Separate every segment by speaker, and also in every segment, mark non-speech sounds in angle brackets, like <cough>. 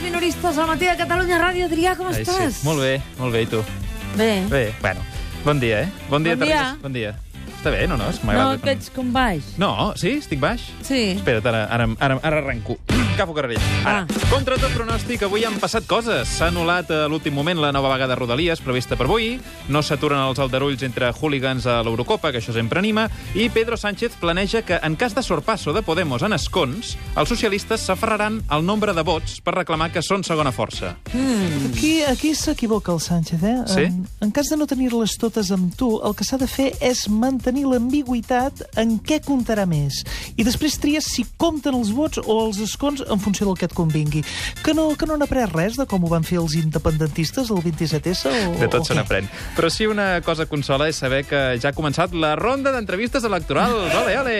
Speaker 1: terroristes al matí de Catalunya Ràdio. Adrià, com
Speaker 2: Ai,
Speaker 1: estàs?
Speaker 2: Sí. Molt bé, molt bé, i tu?
Speaker 1: Bé.
Speaker 2: Bé, bueno. Bon dia, eh? Bon dia,
Speaker 1: Bon dia.
Speaker 2: Terrades. Bon dia. Està bé, no, no?
Speaker 1: No,
Speaker 2: M'agrada.
Speaker 1: que ets com baix.
Speaker 2: No, sí? Estic baix?
Speaker 1: Sí.
Speaker 2: Espera't, ara, ara, ara, ara arrenco. Agafo carrerilla. Ara.
Speaker 1: Ah.
Speaker 2: Contra tot pronòstic, avui han passat coses. S'ha anul·lat a l'últim moment la nova vaga de Rodalies, prevista per avui. No s'aturen els aldarulls entre hooligans a l'Eurocopa, que això sempre anima. I Pedro Sánchez planeja que, en cas de sorpasso de Podemos en escons, els socialistes s'aferraran al nombre de vots per reclamar que són segona força.
Speaker 3: Aquí, aquí s'equivoca el Sánchez, eh?
Speaker 2: Sí?
Speaker 3: En, en cas de no tenir-les totes amb tu, el que s'ha de fer és mantenir l'ambigüitat en què comptarà més. I després tries si compten els vots o els escons en funció del que et convingui. Que no, que no n'aprens res de com ho van fer els independentistes el 27S o...
Speaker 2: De tot
Speaker 3: o
Speaker 2: se
Speaker 3: què?
Speaker 2: n'aprèn. Però sí una cosa consola és saber que ja ha començat la ronda d'entrevistes electorals. Ole, ole!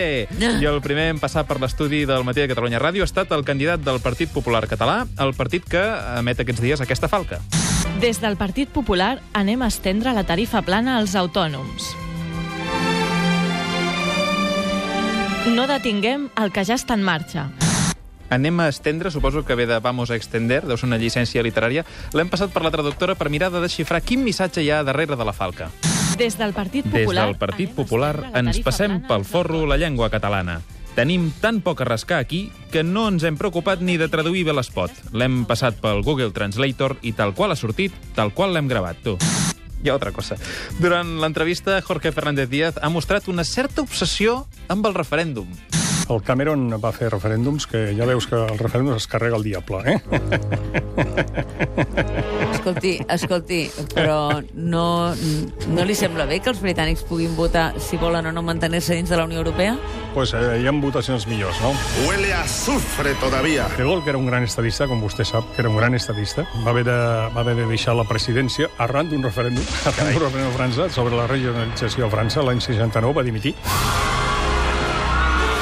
Speaker 2: I el primer en passar per l'estudi del Matí de Catalunya Ràdio ha estat el candidat del Partit Popular Català, el partit que emet aquests dies aquesta falca.
Speaker 4: Des del Partit Popular anem a estendre la tarifa plana als autònoms. No detinguem el que ja està en marxa.
Speaker 2: Anem a estendre, suposo que ve de Vamos a extender, deu ser una llicència literària. L'hem passat per la traductora per mirar de desxifrar quin missatge hi ha darrere de la falca.
Speaker 4: Des del Partit
Speaker 2: Des
Speaker 4: Popular...
Speaker 2: del Partit
Speaker 4: anem a
Speaker 2: Popular
Speaker 4: estendre la
Speaker 2: ens
Speaker 4: tarifa
Speaker 2: passem
Speaker 4: plana
Speaker 2: pel
Speaker 4: als
Speaker 2: forro la llengua catalana. Tenim tan poc a rascar aquí que no ens hem preocupat ni de traduir bé l'espot. L'hem passat pel Google Translator i tal qual ha sortit, tal qual l'hem gravat, tu. Hi ha altra cosa. Durant l'entrevista, Jorge Fernández Díaz ha mostrat una certa obsessió amb el referèndum.
Speaker 5: El Cameron va fer referèndums que ja veus que el referèndum es carrega el diable, eh?
Speaker 1: Escolti, escolti, però no, no li sembla bé que els britànics puguin votar si volen o no mantenir-se dins de la Unió Europea?
Speaker 5: pues, eh, hi ha votacions millors, no?
Speaker 6: Huele a azufre todavía.
Speaker 5: De Gaulle, que era un gran estadista, com vostè sap, que era un gran estadista, va haver de, va haver de deixar la presidència arran d'un referèndum, <laughs> arran d'un referèndum a França sobre la regionalització a França l'any 69, va dimitir.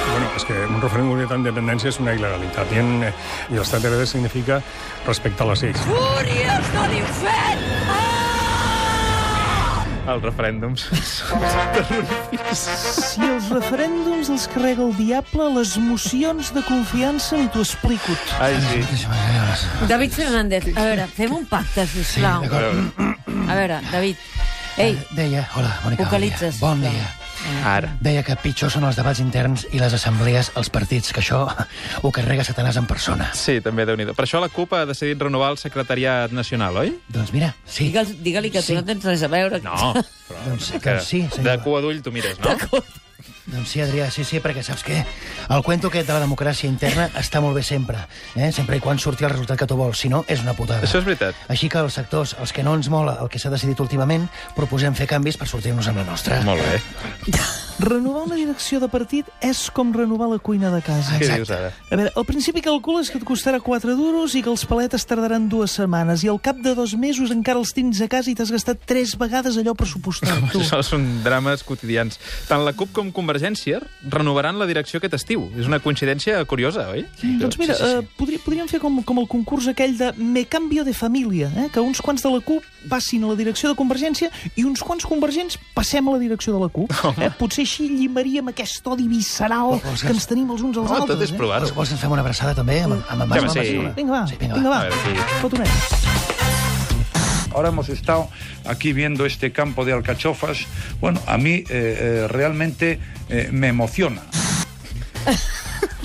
Speaker 5: Bueno, és que un referèndum d'unitat d'independència és una il·legalitat i, en, eh, i l'estat de dret significa respectar les lleis.
Speaker 1: Fúries de l'infern! Ah!
Speaker 2: Els referèndums.
Speaker 3: Si els referèndums els carrega el diable, les mocions de confiança ni t'ho explico.
Speaker 2: <laughs> Ai, sí.
Speaker 1: David Fernández, a veure, fem un pacte, sisplau.
Speaker 2: A veure,
Speaker 1: A veure, David, ei,
Speaker 7: Deia, hola, Mònica,
Speaker 1: Vocalitzes,
Speaker 7: bon dia.
Speaker 1: sisplau.
Speaker 7: Bon dia.
Speaker 2: Ara.
Speaker 7: Deia que pitjor són els debats interns i les assemblees als partits, que això <laughs> ho carrega Satanàs en persona.
Speaker 2: Sí, també, déu nhi Per això la CUP ha decidit renovar el secretariat nacional, oi?
Speaker 7: Doncs mira, sí.
Speaker 1: digue'l- digue-li que tu
Speaker 7: Sí.
Speaker 1: no tens res a veure.
Speaker 2: <laughs> No. Però...
Speaker 7: Doncs, doncs sí,
Speaker 2: de
Speaker 7: senyor.
Speaker 2: cua d'ull tu mires, no? <laughs>
Speaker 7: Doncs sí, Adrià, sí, sí, perquè saps què? El cuento aquest de la democràcia interna està molt bé sempre, eh? sempre i quan surti el resultat que tu vols, si no, és una putada.
Speaker 2: Això és veritat.
Speaker 7: Així que els sectors, els que no ens mola el que s'ha decidit últimament, proposem fer canvis per sortir-nos amb la nostra.
Speaker 2: Molt bé.
Speaker 3: Renovar una direcció de partit és com renovar la cuina de casa.
Speaker 2: Què dius ara?
Speaker 3: A veure, al principi calcules que et costarà 4 duros i que els paletes tardaran dues setmanes i al cap de dos mesos encara els tens a casa i t'has gastat tres vegades allò pressupostat. Tu.
Speaker 2: Això són drames quotidians. Tant la CUP com Convergència renovaran la direcció aquest estiu. És una coincidència curiosa, oi?
Speaker 3: Doncs mira,
Speaker 2: Sí, sí, sí.
Speaker 3: Eh, podri, podríem fer com, com el concurs aquell de Me Cambio de Família, eh? que uns quants de la CUP passin a la direcció de Convergència i uns quants convergents passem a la direcció de la CUP. Eh? Potser així llimaríem aquest odi
Speaker 2: Oh,
Speaker 3: visceral
Speaker 7: Vols que
Speaker 3: que
Speaker 7: ens-
Speaker 3: ens tenim els uns als
Speaker 2: No, tot
Speaker 3: altres.
Speaker 2: és
Speaker 3: eh?
Speaker 2: provar-ho.
Speaker 7: Vols, vols que ens fem una abraçada també amb, amb, amb,
Speaker 2: Ja,
Speaker 7: amb, amb
Speaker 2: sí.
Speaker 3: Vinga, va,
Speaker 7: Sí, vinga, va.
Speaker 3: vinga, va.
Speaker 2: A veure, sí.
Speaker 3: Fotonet.
Speaker 8: Ahora hemos estado aquí viendo este campo de alcachofas. Bueno, a mí eh, eh, realmente eh, me emociona.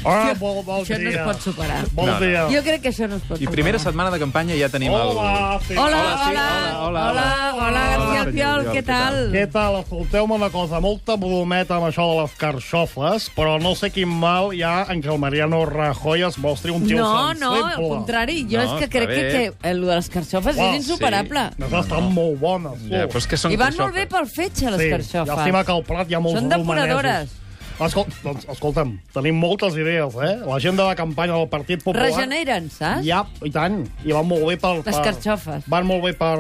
Speaker 1: Hola, bon, bon <laughs> això no es pot superar.
Speaker 2: No, no.
Speaker 1: Jo crec que això no es pot
Speaker 2: I
Speaker 1: superar.
Speaker 2: primera setmana de campanya ja tenim
Speaker 9: Hola,
Speaker 2: el...
Speaker 9: sí.
Speaker 1: Hola,
Speaker 2: Hola, sí,
Speaker 1: hola,
Speaker 2: hola,
Speaker 1: hola,
Speaker 2: hola,
Speaker 1: hola, hola, García Albiol, què tal?
Speaker 9: Què tal? Escolteu-me una cosa, molta brometa amb això de les carxofles, però no sé quin mal hi ha en que el Mariano Rajoy es mostri un tio
Speaker 1: No, no,
Speaker 9: sensible.
Speaker 1: al contrari, jo
Speaker 2: No,
Speaker 1: és que
Speaker 2: està
Speaker 1: crec que,
Speaker 2: bé.
Speaker 1: que el de les carxofes
Speaker 9: Uau,
Speaker 1: és insuperable.
Speaker 9: No, no, estan molt bones. tu.
Speaker 2: Ja, però és que són
Speaker 1: I van molt
Speaker 2: carxofes.
Speaker 1: bé pel fetge, les
Speaker 9: Sí,
Speaker 1: carxofes.
Speaker 9: Llàstima que al Prat hi ha molts
Speaker 1: Són depuradores.
Speaker 9: romanesos. Escol doncs, escolta'm, tenim moltes idees, eh? L'agenda de campanya del Partit Popular...
Speaker 1: Regeneren, saps?
Speaker 9: eh? Ja, i tant. I van molt bé per...
Speaker 1: Les
Speaker 9: per-
Speaker 1: carxofes.
Speaker 9: Van molt bé per...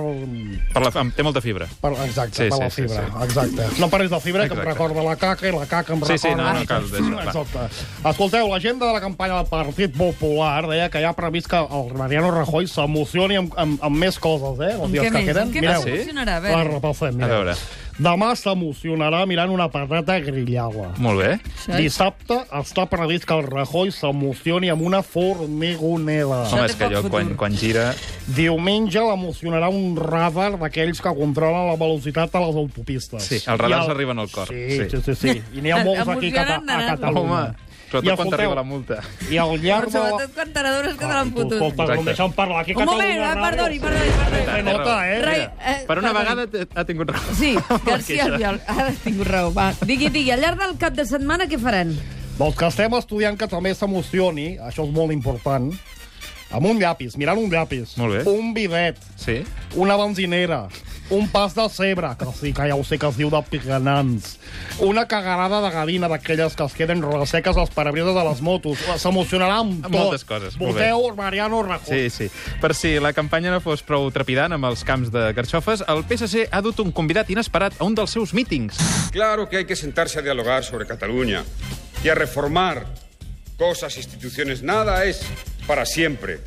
Speaker 2: Per la... Té molta fibra.
Speaker 9: per exacte,
Speaker 2: Sí,
Speaker 9: per
Speaker 2: sí,
Speaker 9: la
Speaker 2: sí,
Speaker 9: fibra.
Speaker 2: sí.
Speaker 9: Exacte. No parlis de fibra, que
Speaker 2: Exacte.
Speaker 9: em recorda la caca, i la caca em
Speaker 2: Sí, sí,
Speaker 9: recorda...
Speaker 2: no, no cal deixar, va.
Speaker 9: Exacte. Escolteu, l'agenda de la campanya del Partit Popular deia que hi ha previst que el Mariano Rajoy s'emocioni amb, amb, amb més coses, eh?
Speaker 1: Amb
Speaker 9: Els
Speaker 1: què
Speaker 9: dies que
Speaker 1: més?
Speaker 9: queden.
Speaker 1: Amb què
Speaker 9: Mireu,
Speaker 1: més s'emocionarà? A veure.
Speaker 9: la repassem,
Speaker 2: A
Speaker 9: mireu.
Speaker 2: veure.
Speaker 10: Demà s'emocionarà mirant una patata grillada.
Speaker 2: Molt bé.
Speaker 10: Dissabte està previst que el Rajoy s'emocioni amb una formigonera.
Speaker 2: Home,
Speaker 1: té
Speaker 2: és que
Speaker 1: poc
Speaker 2: allò,
Speaker 1: futur.
Speaker 2: quan, quan gira...
Speaker 10: Diumenge l'emocionarà un radar d'aquells que controlen la velocitat a les autopistes.
Speaker 2: Sí, els radars
Speaker 10: I
Speaker 2: arriben al cor,
Speaker 10: Sí,
Speaker 2: sí.
Speaker 10: sí, sí. sí. I n'hi ha molts aquí a, Cata-
Speaker 1: Emocionant
Speaker 10: a
Speaker 1: d'anar.
Speaker 10: Catalunya.
Speaker 2: Home, sobretot quan
Speaker 10: escolteu,
Speaker 2: t'arriba la multa.
Speaker 10: I al llarg de la... Ah,
Speaker 1: Sobretot quan t'adones
Speaker 9: Ah,
Speaker 1: que te l'han
Speaker 10: Tu,
Speaker 1: fotut.
Speaker 10: Escolta,
Speaker 2: Exacte.
Speaker 10: no em deixen parlar aquí a
Speaker 1: Un
Speaker 10: Catalunya
Speaker 1: moment, va,
Speaker 10: Ràdio.
Speaker 1: perdoni, perdoni, perdoni.
Speaker 10: Té nota, eh?
Speaker 1: Rai- eh,
Speaker 2: Per una
Speaker 1: perdoni.
Speaker 2: vegada t- ha tingut raó. <laughs>
Speaker 1: Sí,
Speaker 2: Queixa.
Speaker 1: García Albiol. Ara has tingut raó, va. Digui, digui, al llarg del cap de setmana què faran?
Speaker 10: Dels que estem estudiant que també s'emocioni, això és molt important, amb un llapis, mirant un llapis,
Speaker 2: Molt bé.
Speaker 10: un bidet,
Speaker 2: Sí?
Speaker 10: una benzinera, un pas de cebre, que sí que ja ho sé que es diu de picanants, una cagarada de gallina d'aquelles que es queden resseques als parabrises de les motos. S'emocionarà amb
Speaker 2: Amb
Speaker 10: tot.
Speaker 2: moltes coses, molt bé.
Speaker 10: Voteu Mariano Rajoy.
Speaker 2: Sí, sí. Per si la campanya no fos prou trepidant amb els camps de carxofes, el PSC ha dut un convidat inesperat a un dels seus mítings.
Speaker 11: Claro que hay que sentarse a dialogar sobre Cataluña y a reformar cosas, instituciones. Nada es para siempre,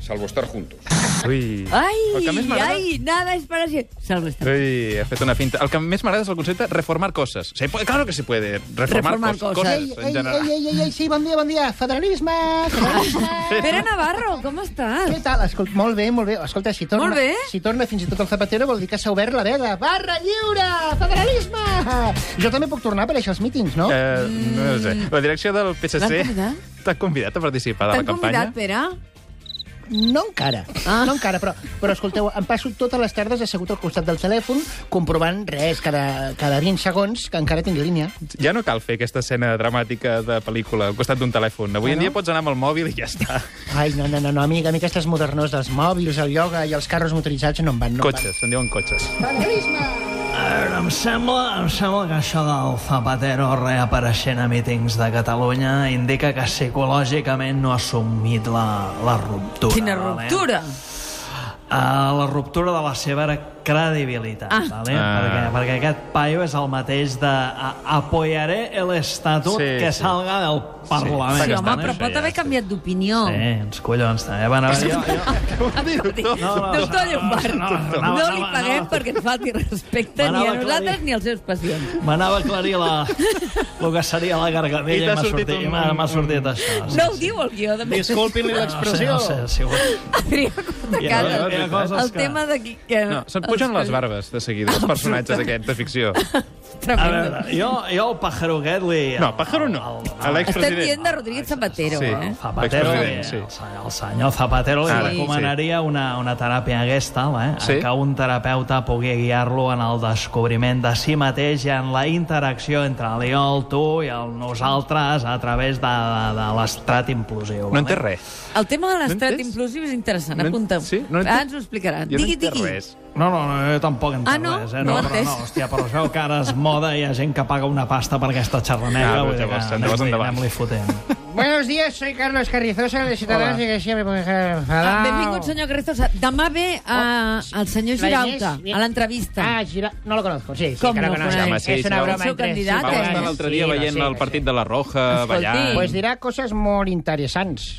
Speaker 11: salvo estar juntos.
Speaker 2: Ui.
Speaker 1: Ai,
Speaker 2: El que més m'agrada-
Speaker 1: ai, nada és per així. Salve, està.
Speaker 2: Ui, ha fet una finta. El que més m'agrada és el concepte reformar coses. Se puede, claro que se puede. Reformar,
Speaker 1: Reformar
Speaker 2: cos-
Speaker 1: coses.
Speaker 2: coses, en general.
Speaker 7: ei, ei, sí, bon dia, bon dia. Federalisme! federalisme.
Speaker 2: Eh.
Speaker 1: Pere Navarro, com estàs?
Speaker 7: Què tal? Escolta, molt bé, molt bé. Escolta, si torna,
Speaker 1: Molt bé.
Speaker 7: si torna fins i tot el Zapatero vol dir que s'ha obert la veda. Barra lliure! Federalisme! Jo també puc tornar per això als mítings, no?
Speaker 2: Eh, no ho sé. La direcció del PSC
Speaker 1: L'han convidat?
Speaker 2: t'ha convidat a participar de la
Speaker 1: T'han
Speaker 2: campanya.
Speaker 1: convidat, Pere?
Speaker 7: No encara, ah. no encara, però, però escolteu, em passo totes les tardes assegut al costat del telèfon comprovant res, cada, cada 20 segons que encara tinc línia.
Speaker 2: Ja no cal fer aquesta escena dramàtica de pel·lícula al costat d'un telèfon. Avui en dia pots anar amb el mòbil i ja està.
Speaker 7: Ai, no, no, no, no, a mi, a mi aquestes modernors dels mòbils, el ioga i els carros motoritzats no em van, no em van.
Speaker 2: Cotxes, se'n diuen cotxes.
Speaker 3: Però em sembla, em sembla que això del Zapatero reapareixent a mítings de Catalunya indica que psicològicament no ha assumit la, la ruptura.
Speaker 1: Quina
Speaker 3: valent?
Speaker 1: ruptura!
Speaker 3: A la ruptura de la seva credibilitat, ah. valent?
Speaker 2: Ah.
Speaker 3: Perquè, perquè aquest paio és el mateix de a- apoyaré el estatut
Speaker 2: Sí,
Speaker 3: sí, que
Speaker 2: sí.
Speaker 3: salga del Parlament.
Speaker 1: Sí,
Speaker 2: que
Speaker 1: home,
Speaker 2: estan,
Speaker 1: però
Speaker 2: això
Speaker 1: pot
Speaker 2: ja,
Speaker 1: haver
Speaker 2: sí.
Speaker 1: canviat d'opinió.
Speaker 3: Sí, ens eh? collons també. Bueno, jo, jo,
Speaker 1: <laughs> Escolti,
Speaker 3: no,
Speaker 1: Doctor
Speaker 3: no,
Speaker 1: Llombard,
Speaker 3: no, no,
Speaker 1: no
Speaker 3: no,
Speaker 1: li
Speaker 3: no,
Speaker 1: paguem
Speaker 3: no.
Speaker 1: perquè ens falti respecte ni
Speaker 3: Anava
Speaker 1: a
Speaker 3: a
Speaker 1: nosaltres
Speaker 3: aclarir.
Speaker 1: ni als seus pacients.
Speaker 3: M'anava a aclarir la, el que seria la
Speaker 2: I
Speaker 3: gargamella
Speaker 2: t'ha
Speaker 3: i m'ha
Speaker 2: sortit
Speaker 3: sortit,
Speaker 2: un-
Speaker 3: un... m'ha sortit això. sí,
Speaker 1: No ho
Speaker 3: sí.
Speaker 1: diu el guió, de més. <laughs>
Speaker 10: Disculpin-li l'expressió.
Speaker 3: No, sé, no sé, si ho...
Speaker 1: Adrià
Speaker 3: Hi ha-
Speaker 1: Cortacalla.
Speaker 3: hi ha coses
Speaker 1: El
Speaker 3: que-
Speaker 1: tema d'aquí... Que...
Speaker 2: No, se'n pugen les barbes de seguida, els personatges aquests de ficció.
Speaker 3: A
Speaker 1: Tremendo.
Speaker 3: veure, jo, jo el pájaro aquest li...
Speaker 2: No, Pájaro no.
Speaker 3: El,
Speaker 2: A
Speaker 3: el,
Speaker 1: Estem
Speaker 2: l'expresident.
Speaker 1: dient de Rodríguez Zapatero,
Speaker 2: Sí.
Speaker 1: eh?
Speaker 3: Zapatero,
Speaker 2: L'expresident,
Speaker 3: el,
Speaker 2: sí.
Speaker 3: el, senyor, el senyor Zapatero li
Speaker 2: Ara,
Speaker 3: recomanaria una, una teràpia aquesta, eh?
Speaker 2: Sí.
Speaker 3: en què un terapeuta pugui guiar-lo en el descobriment de si mateix i en la interacció entre l'Iol, tu i el nosaltres a través de, de, de l'estrat implosiu. eh?
Speaker 2: No
Speaker 3: vale?
Speaker 2: en té res.
Speaker 1: El tema de l'estat
Speaker 2: entès?
Speaker 1: implosiu és interessant,
Speaker 2: No en-
Speaker 1: apunta.
Speaker 2: sí? No en-
Speaker 1: Ara ens ho explicarà.
Speaker 2: Jo
Speaker 1: digui,
Speaker 2: no en té
Speaker 1: digui.
Speaker 2: res.
Speaker 3: No, no, no, jo tampoc en
Speaker 1: Ah,
Speaker 3: sé
Speaker 1: no?
Speaker 3: res, eh?
Speaker 1: No ho he
Speaker 3: però
Speaker 1: entès.
Speaker 3: no, hòstia, però es veu que ara es moda i hi ha gent que paga una pasta per aquesta xerrameca.
Speaker 2: Ah, però
Speaker 3: vull dir
Speaker 2: llavors,
Speaker 3: que
Speaker 2: endavant,
Speaker 3: anem-li-
Speaker 2: endavant.
Speaker 3: anem-li fotent.
Speaker 7: Buenos días, soy Carlos Carrizosa de Ciutadans
Speaker 3: Hola.
Speaker 7: y que siempre me
Speaker 1: Ah,
Speaker 7: enfadado.
Speaker 1: benvingut, senyor Carrizosa. Demà ve eh, el senyor Girauta
Speaker 7: Vallès, bien.
Speaker 1: a l'entrevista.
Speaker 7: Oh, Ah, Gira... no lo conozco, sí, sí
Speaker 1: Com
Speaker 7: que lo
Speaker 1: no
Speaker 7: conozco.
Speaker 1: coneix?
Speaker 2: Home, sí,
Speaker 7: es una
Speaker 2: sí,
Speaker 7: broma
Speaker 1: el seu
Speaker 7: entre
Speaker 1: candidat,
Speaker 2: Va estar l'altre dia
Speaker 7: Sí,
Speaker 2: veient
Speaker 7: lo sé,
Speaker 2: el
Speaker 7: lo
Speaker 2: partit
Speaker 7: sé.
Speaker 2: de la Roja,
Speaker 1: Escolti.
Speaker 2: ballant...
Speaker 7: Pues dirà coses molt interessants.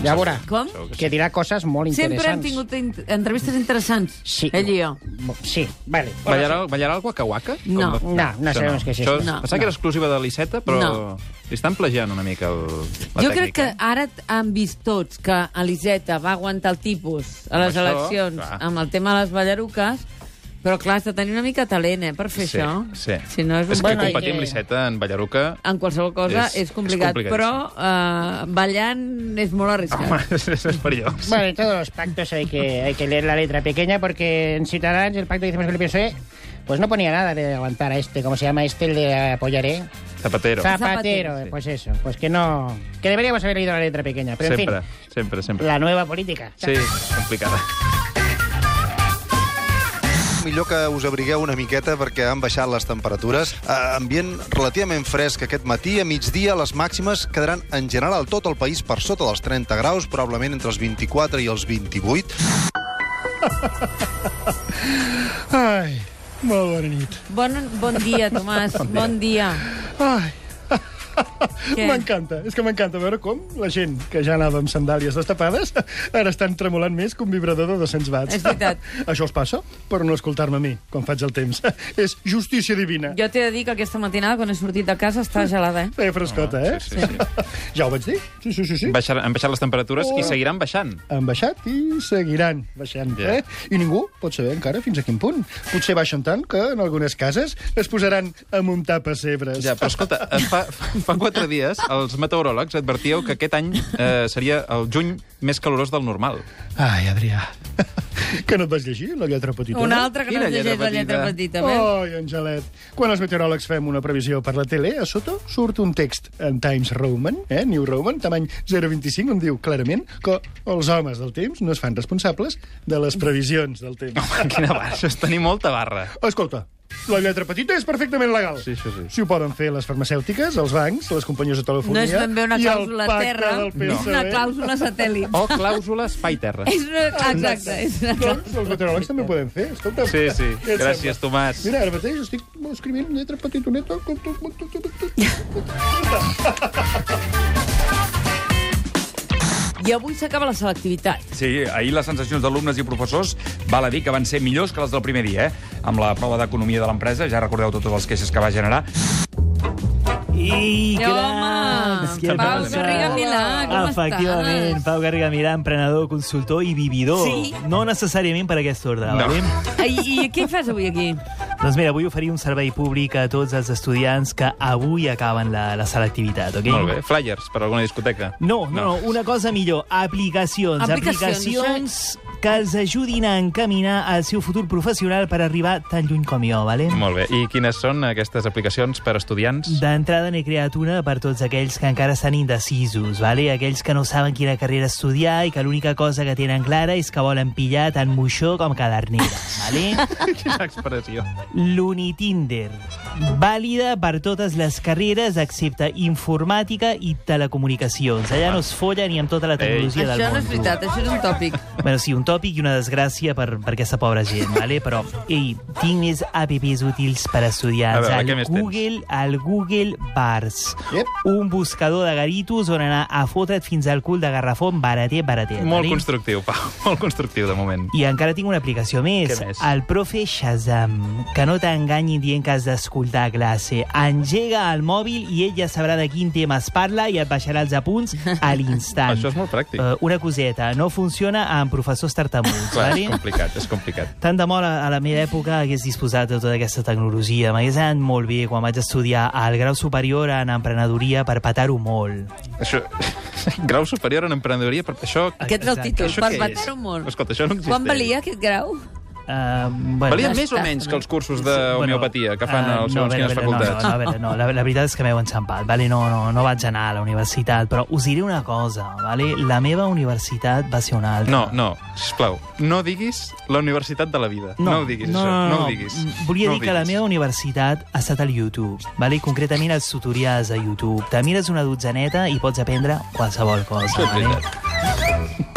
Speaker 7: Ja veurà.
Speaker 1: Com?
Speaker 7: Que dirà coses molt interessants.
Speaker 1: Sempre hem tingut in- entrevistes interessants, eh,
Speaker 7: Sí.
Speaker 1: ell i jo.
Speaker 7: Sí, vale.
Speaker 2: Ballarà, ballarà el Waka Waka?
Speaker 1: No.
Speaker 2: Com
Speaker 7: No, no sabem què és
Speaker 2: Això
Speaker 7: això.
Speaker 2: és...
Speaker 1: No,
Speaker 2: Pensava que era exclusiva de l'Iceta, però
Speaker 1: No.
Speaker 2: li estan plagiant una mica el... la
Speaker 1: jo
Speaker 2: tècnica.
Speaker 1: crec que ara t- han vist tots que Eliseta va aguantar el tipus a les
Speaker 2: Amb això,
Speaker 1: eleccions
Speaker 2: clar.
Speaker 1: amb el tema de les ballaruques, però clar, has de tenir una mica de talent, eh, per fer
Speaker 2: Sí,
Speaker 1: això.
Speaker 2: sí.
Speaker 1: Si no és un... Ah.
Speaker 2: És que
Speaker 7: Bueno, i
Speaker 2: competir
Speaker 7: que-
Speaker 2: amb l'Iceta en Ballaruca...
Speaker 1: en qualsevol cosa
Speaker 2: És-
Speaker 1: és,
Speaker 2: és
Speaker 1: és complicat,
Speaker 2: complicadíssim.
Speaker 1: però eh, ballant és molt arriscat.
Speaker 2: Home, <laughs> és, és perillós.
Speaker 7: Bueno, en todos los pactos hay que, hay que leer la letra pequeña porque en Ciutadans el pacto que hicimos con el PSOE E, pues no ponía nada de aguantar a este, como se llama este, el de apoyaré.
Speaker 2: Zapatero.
Speaker 7: Zapatero,
Speaker 1: Zapatero,
Speaker 2: sí.
Speaker 7: pues eso, pues que no... Que deberíamos haber leído la letra pequeña, pero
Speaker 2: Sempre,
Speaker 7: en fin,
Speaker 2: sempre, sempre.
Speaker 7: la nueva política.
Speaker 2: Sí, és complicada.
Speaker 12: Millor que us abrigueu una miqueta perquè han baixat les temperatures. Eh, ambient relativament fresc aquest matí. A migdia les màximes quedaran en general tot el país per sota dels 30 graus, probablement entre els 24 i els 28.
Speaker 10: Ai, molt bona nit.
Speaker 2: <laughs>
Speaker 1: Bon, bon dia, Tomàs. Bon dia.
Speaker 10: Ai.
Speaker 2: <laughs>
Speaker 1: Què?
Speaker 9: M'encanta, és que m'encanta veure com la gent que ja anava amb sandàlies destapades ara estan tremolant més que un vibrador de 200 watts.
Speaker 1: És veritat.
Speaker 9: Això els passa per no escoltar-me a mi quan faig el temps. <laughs> És justícia divina.
Speaker 1: Jo t'he de dir que aquesta matinada, quan he sortit de casa, està gelada, eh?
Speaker 9: Feia
Speaker 12: Ah,
Speaker 9: frescota, eh? Sí, sí, sí. <laughs> Ja ho vaig dir. Sí, sí, sí. sí.
Speaker 2: Baixar, han baixat les temperatures
Speaker 9: Oh.
Speaker 2: i seguiran baixant.
Speaker 9: han baixat i seguiran baixant.
Speaker 2: Ja.
Speaker 9: Yeah. Eh? I ningú pot saber encara fins a quin punt. Potser baixen tant que en algunes cases es posaran a muntar pessebres.
Speaker 2: Ja, però escolta, eh, fa, fa quatre dies els meteoròlegs advertíeu que aquest any eh, seria el juny més calorós del
Speaker 13: <laughs>
Speaker 2: normal.
Speaker 9: Ai, Adrià. <laughs> que no et vas llegir, la lletra petita?
Speaker 1: Una altra que no Quina es llegeix, lletra la lletra petita? petita, bé.
Speaker 12: Oh.
Speaker 9: Ai, Angelet. Quan els meteoròlegs fem una previsió per la tele, a sota surt un text en Times Roman, eh, New Roman, tamany 025, on diu clarament que els homes del temps no es fan responsables de les previsions del temps.
Speaker 1: <laughs>
Speaker 2: Quina barra, això és tenir molta barra.
Speaker 9: Escolta, la lletra petita és perfectament legal.
Speaker 2: Sí, això sí.
Speaker 9: Si ho poden fer les farmacèutiques, els bancs, les companyies de
Speaker 1: No
Speaker 9: telefonia...
Speaker 1: és ben bé una
Speaker 9: i el
Speaker 1: clàusula
Speaker 9: pacte
Speaker 1: terra,
Speaker 9: del
Speaker 1: és
Speaker 9: PSOE.
Speaker 1: una clàusula satèl·lit.
Speaker 2: O clàusula espai-terra.
Speaker 1: És una... Exacte, és una
Speaker 9: Doncs els meteoròlegs també ho poden fer, escolta.
Speaker 2: Sí, sí.
Speaker 9: Què et
Speaker 2: Gràcies,
Speaker 9: sembla?
Speaker 2: Tomàs.
Speaker 9: Mira, ara mateix estic escrivint lletra petitoneta... com tu- com tu- com tu-
Speaker 1: I avui s'acaba la selectivitat.
Speaker 13: Sí, ahir les sensacions d'alumnes i professors val a dir que van ser millors que les del primer dia, eh? Amb la prova d'economia de l'empresa, ja recordeu totes les queixes que va generar.
Speaker 12: I
Speaker 1: Home,
Speaker 12: què
Speaker 1: Pau
Speaker 12: passa? Ah,
Speaker 1: Garriga Milà, com estàs?
Speaker 12: Efectivament, Pau Garriga Milà, emprenedor, consultor i vividor.
Speaker 1: Sí.
Speaker 12: No necessàriament per aquest ordre.
Speaker 1: No.
Speaker 12: valent?
Speaker 1: I, I què fas avui aquí?
Speaker 12: Doncs mira, vull oferir un servei públic a tots els estudiants que avui acaben la, la selectivitat, ok?
Speaker 2: Molt bé. Flyers per alguna discoteca.
Speaker 12: No, no, no, una cosa millor, aplicacions.
Speaker 1: Aplicacions,
Speaker 12: aplicacions que els ajudin a encaminar el seu futur professional per arribar tan lluny com jo, valent?
Speaker 2: Molt bé. I quines són aquestes aplicacions per estudiants?
Speaker 12: D'entrada n'he creat una per tots aquells que encara estan indecisos, vale? aquells que no saben quina carrera estudiar i que l'única cosa que tenen clara és que volen pillar tant moixó com cadernera. Vale?
Speaker 2: <laughs>
Speaker 1: <laughs>
Speaker 2: Quina expressió.
Speaker 12: L'Unitinder, vàlida per totes les carreres excepte informàtica i telecomunicacions. Allà no es folla ni amb tota la tecnologia del
Speaker 1: Això
Speaker 12: món.
Speaker 1: no és veritat, això és un tòpic.
Speaker 12: Bueno, sí, un tòpic i una desgràcia per, per aquesta pobra gent, vale? però ei, tinc més apps útils per
Speaker 2: A
Speaker 12: estudiants.
Speaker 2: veure, què
Speaker 12: el,
Speaker 2: més tens?
Speaker 12: Google, el Google Bars. Yep. Un buscador de garitos on anar a fotre't fins al cul de garrafón baratet, baratet.
Speaker 2: Molt
Speaker 12: vale?
Speaker 2: constructiu, Pau. <laughs> Molt constructiu, de moment.
Speaker 12: I encara tinc una aplicació més.
Speaker 2: Què més?
Speaker 12: El profe Shazam, que no t'enganyi dient que has d'escoltar a classe. Engega el mòbil i ell ja sabrà de quin tema es parla i et baixarà els apunts a
Speaker 2: <laughs>
Speaker 12: l'instant.
Speaker 2: Això és molt pràctic.
Speaker 12: Uh, una coseta, no funciona amb professors tartamuts.
Speaker 2: Clar,
Speaker 12: vale?
Speaker 2: és complicat, és complicat.
Speaker 12: Tant de molt a a la meva època hagués disposat de tota aquesta tecnologia. M'hagués anat molt bé quan vaig estudiar al grau superior en emprenedoria per patar-ho molt.
Speaker 2: Això... <laughs> Grau superior en emprenedoria... Per... Això...
Speaker 1: Aquest és el títol,
Speaker 2: Això
Speaker 1: per
Speaker 2: què és?
Speaker 1: patar-ho molt.
Speaker 2: Escolta, això no existeix.
Speaker 1: Quan valia aquest grau?
Speaker 12: Uh, bueno,
Speaker 2: Valien més o menys que els cursos d'homeopatia que fan
Speaker 12: Ah,
Speaker 2: a segons
Speaker 12: a veure,
Speaker 2: quines
Speaker 12: a veure,
Speaker 2: facultats?
Speaker 12: No, no, a veure, no, la, la veritat és que m'heu enxampat, vale? no, no, no vaig anar a la universitat, però us diré una cosa, vale? la meva universitat va ser una altra.
Speaker 2: No, no, sisplau, no diguis la universitat de la vida. No, ho diguis, això. No, ho diguis.
Speaker 12: Mm, Volia
Speaker 2: no
Speaker 12: dir que la meva universitat ha estat al YouTube, vale? I concretament els tutorials a YouTube. Te mires una dotzeneta i pots aprendre qualsevol cosa.
Speaker 2: Això és
Speaker 12: Vale?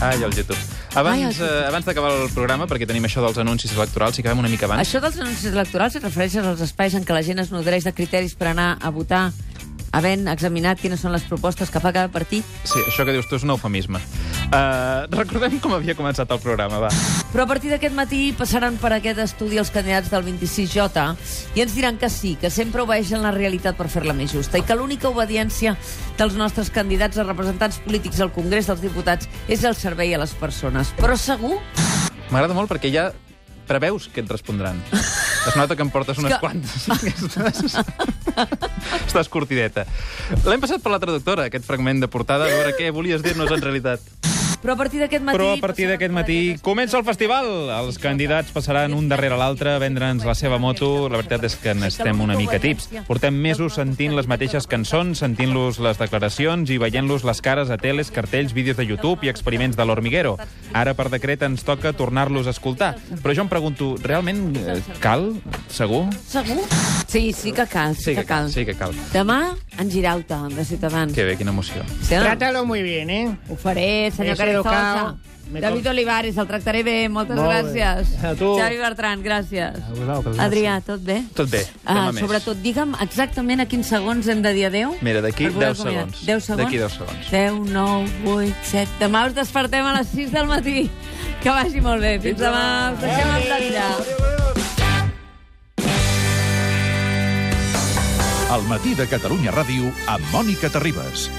Speaker 2: Ai, el YouTube. Abans, eh, abans d'acabar el programa, perquè tenim això dels anuncis electorals, si acabem una mica abans...
Speaker 1: Això dels anuncis electorals es refereix als espais en què la gent es nodreix de criteris per anar a votar havent examinat quines són les propostes que fa cada partit.
Speaker 2: Sí, això que dius tu és un eufemisme. Uh, recordem com havia començat el programa, va.
Speaker 1: Però a partir d'aquest matí passaran per aquest estudi els candidats del 26J i ens diran que sí, que sempre obeixen la realitat per fer-la més justa i que l'única obediència dels nostres candidats a representants polítics al Congrés dels Diputats és el servei a les persones. Però segur
Speaker 2: M'agrada molt perquè ja preveus que et respondran. Es nota que en portes unes
Speaker 1: que-
Speaker 2: quantes. <laughs> Estàs curtideta. L'hem passat per la traductora, aquest fragment de portada, a veure què volies dir-nos en realitat.
Speaker 1: Però a partir d'aquest matí...
Speaker 2: Però a partir d'aquest matí comença el festival. Els candidats passaran un darrere l'altre, vendre'ns la seva moto. La veritat és que n'estem una mica tips. Portem mesos sentint les mateixes cançons, sentint-los les declaracions i veient-los les cares a teles, cartells, vídeos de YouTube i experiments de l'Hormiguero. Ara, per decret, ens toca tornar-los a escoltar. Però jo em pregunto, realment eh, cal? Segur?
Speaker 1: Segur? Sí, sí que cal, sí, que, cal.
Speaker 2: Sí que cal.
Speaker 1: Demà, en Girauta, de Ciutadans.
Speaker 2: Que bé, quina emoció.
Speaker 1: Sí, o no?
Speaker 7: Trátalo muy bien, eh?
Speaker 1: Ho faré, senyor
Speaker 7: És educado.
Speaker 1: Carrizosa.
Speaker 7: Me
Speaker 1: David
Speaker 7: com-
Speaker 1: Olivares, el tractaré bé, moltes
Speaker 7: Molt bé.
Speaker 1: gràcies.
Speaker 7: A tu.
Speaker 1: Xavi Bertran, gràcies.
Speaker 7: A vosaltres, gràcies.
Speaker 1: Adrià, tot bé?
Speaker 2: Tot bé.
Speaker 1: Ah,
Speaker 2: demà més.
Speaker 1: sobretot, digue'm exactament a quins segons hem de dir adeu.
Speaker 2: Mira, d'aquí
Speaker 1: per poder
Speaker 2: 10
Speaker 1: acomiadar.
Speaker 2: segons.
Speaker 1: 10 segons?
Speaker 2: D'aquí 10 segons.
Speaker 1: 10, 9, 8, 7... Demà us despertem a les 6 del matí. Que vagi molt bé. Fins demà. Us deixem amb l'Adrià.
Speaker 14: El matí de Catalunya Ràdio amb Mònica Terribas.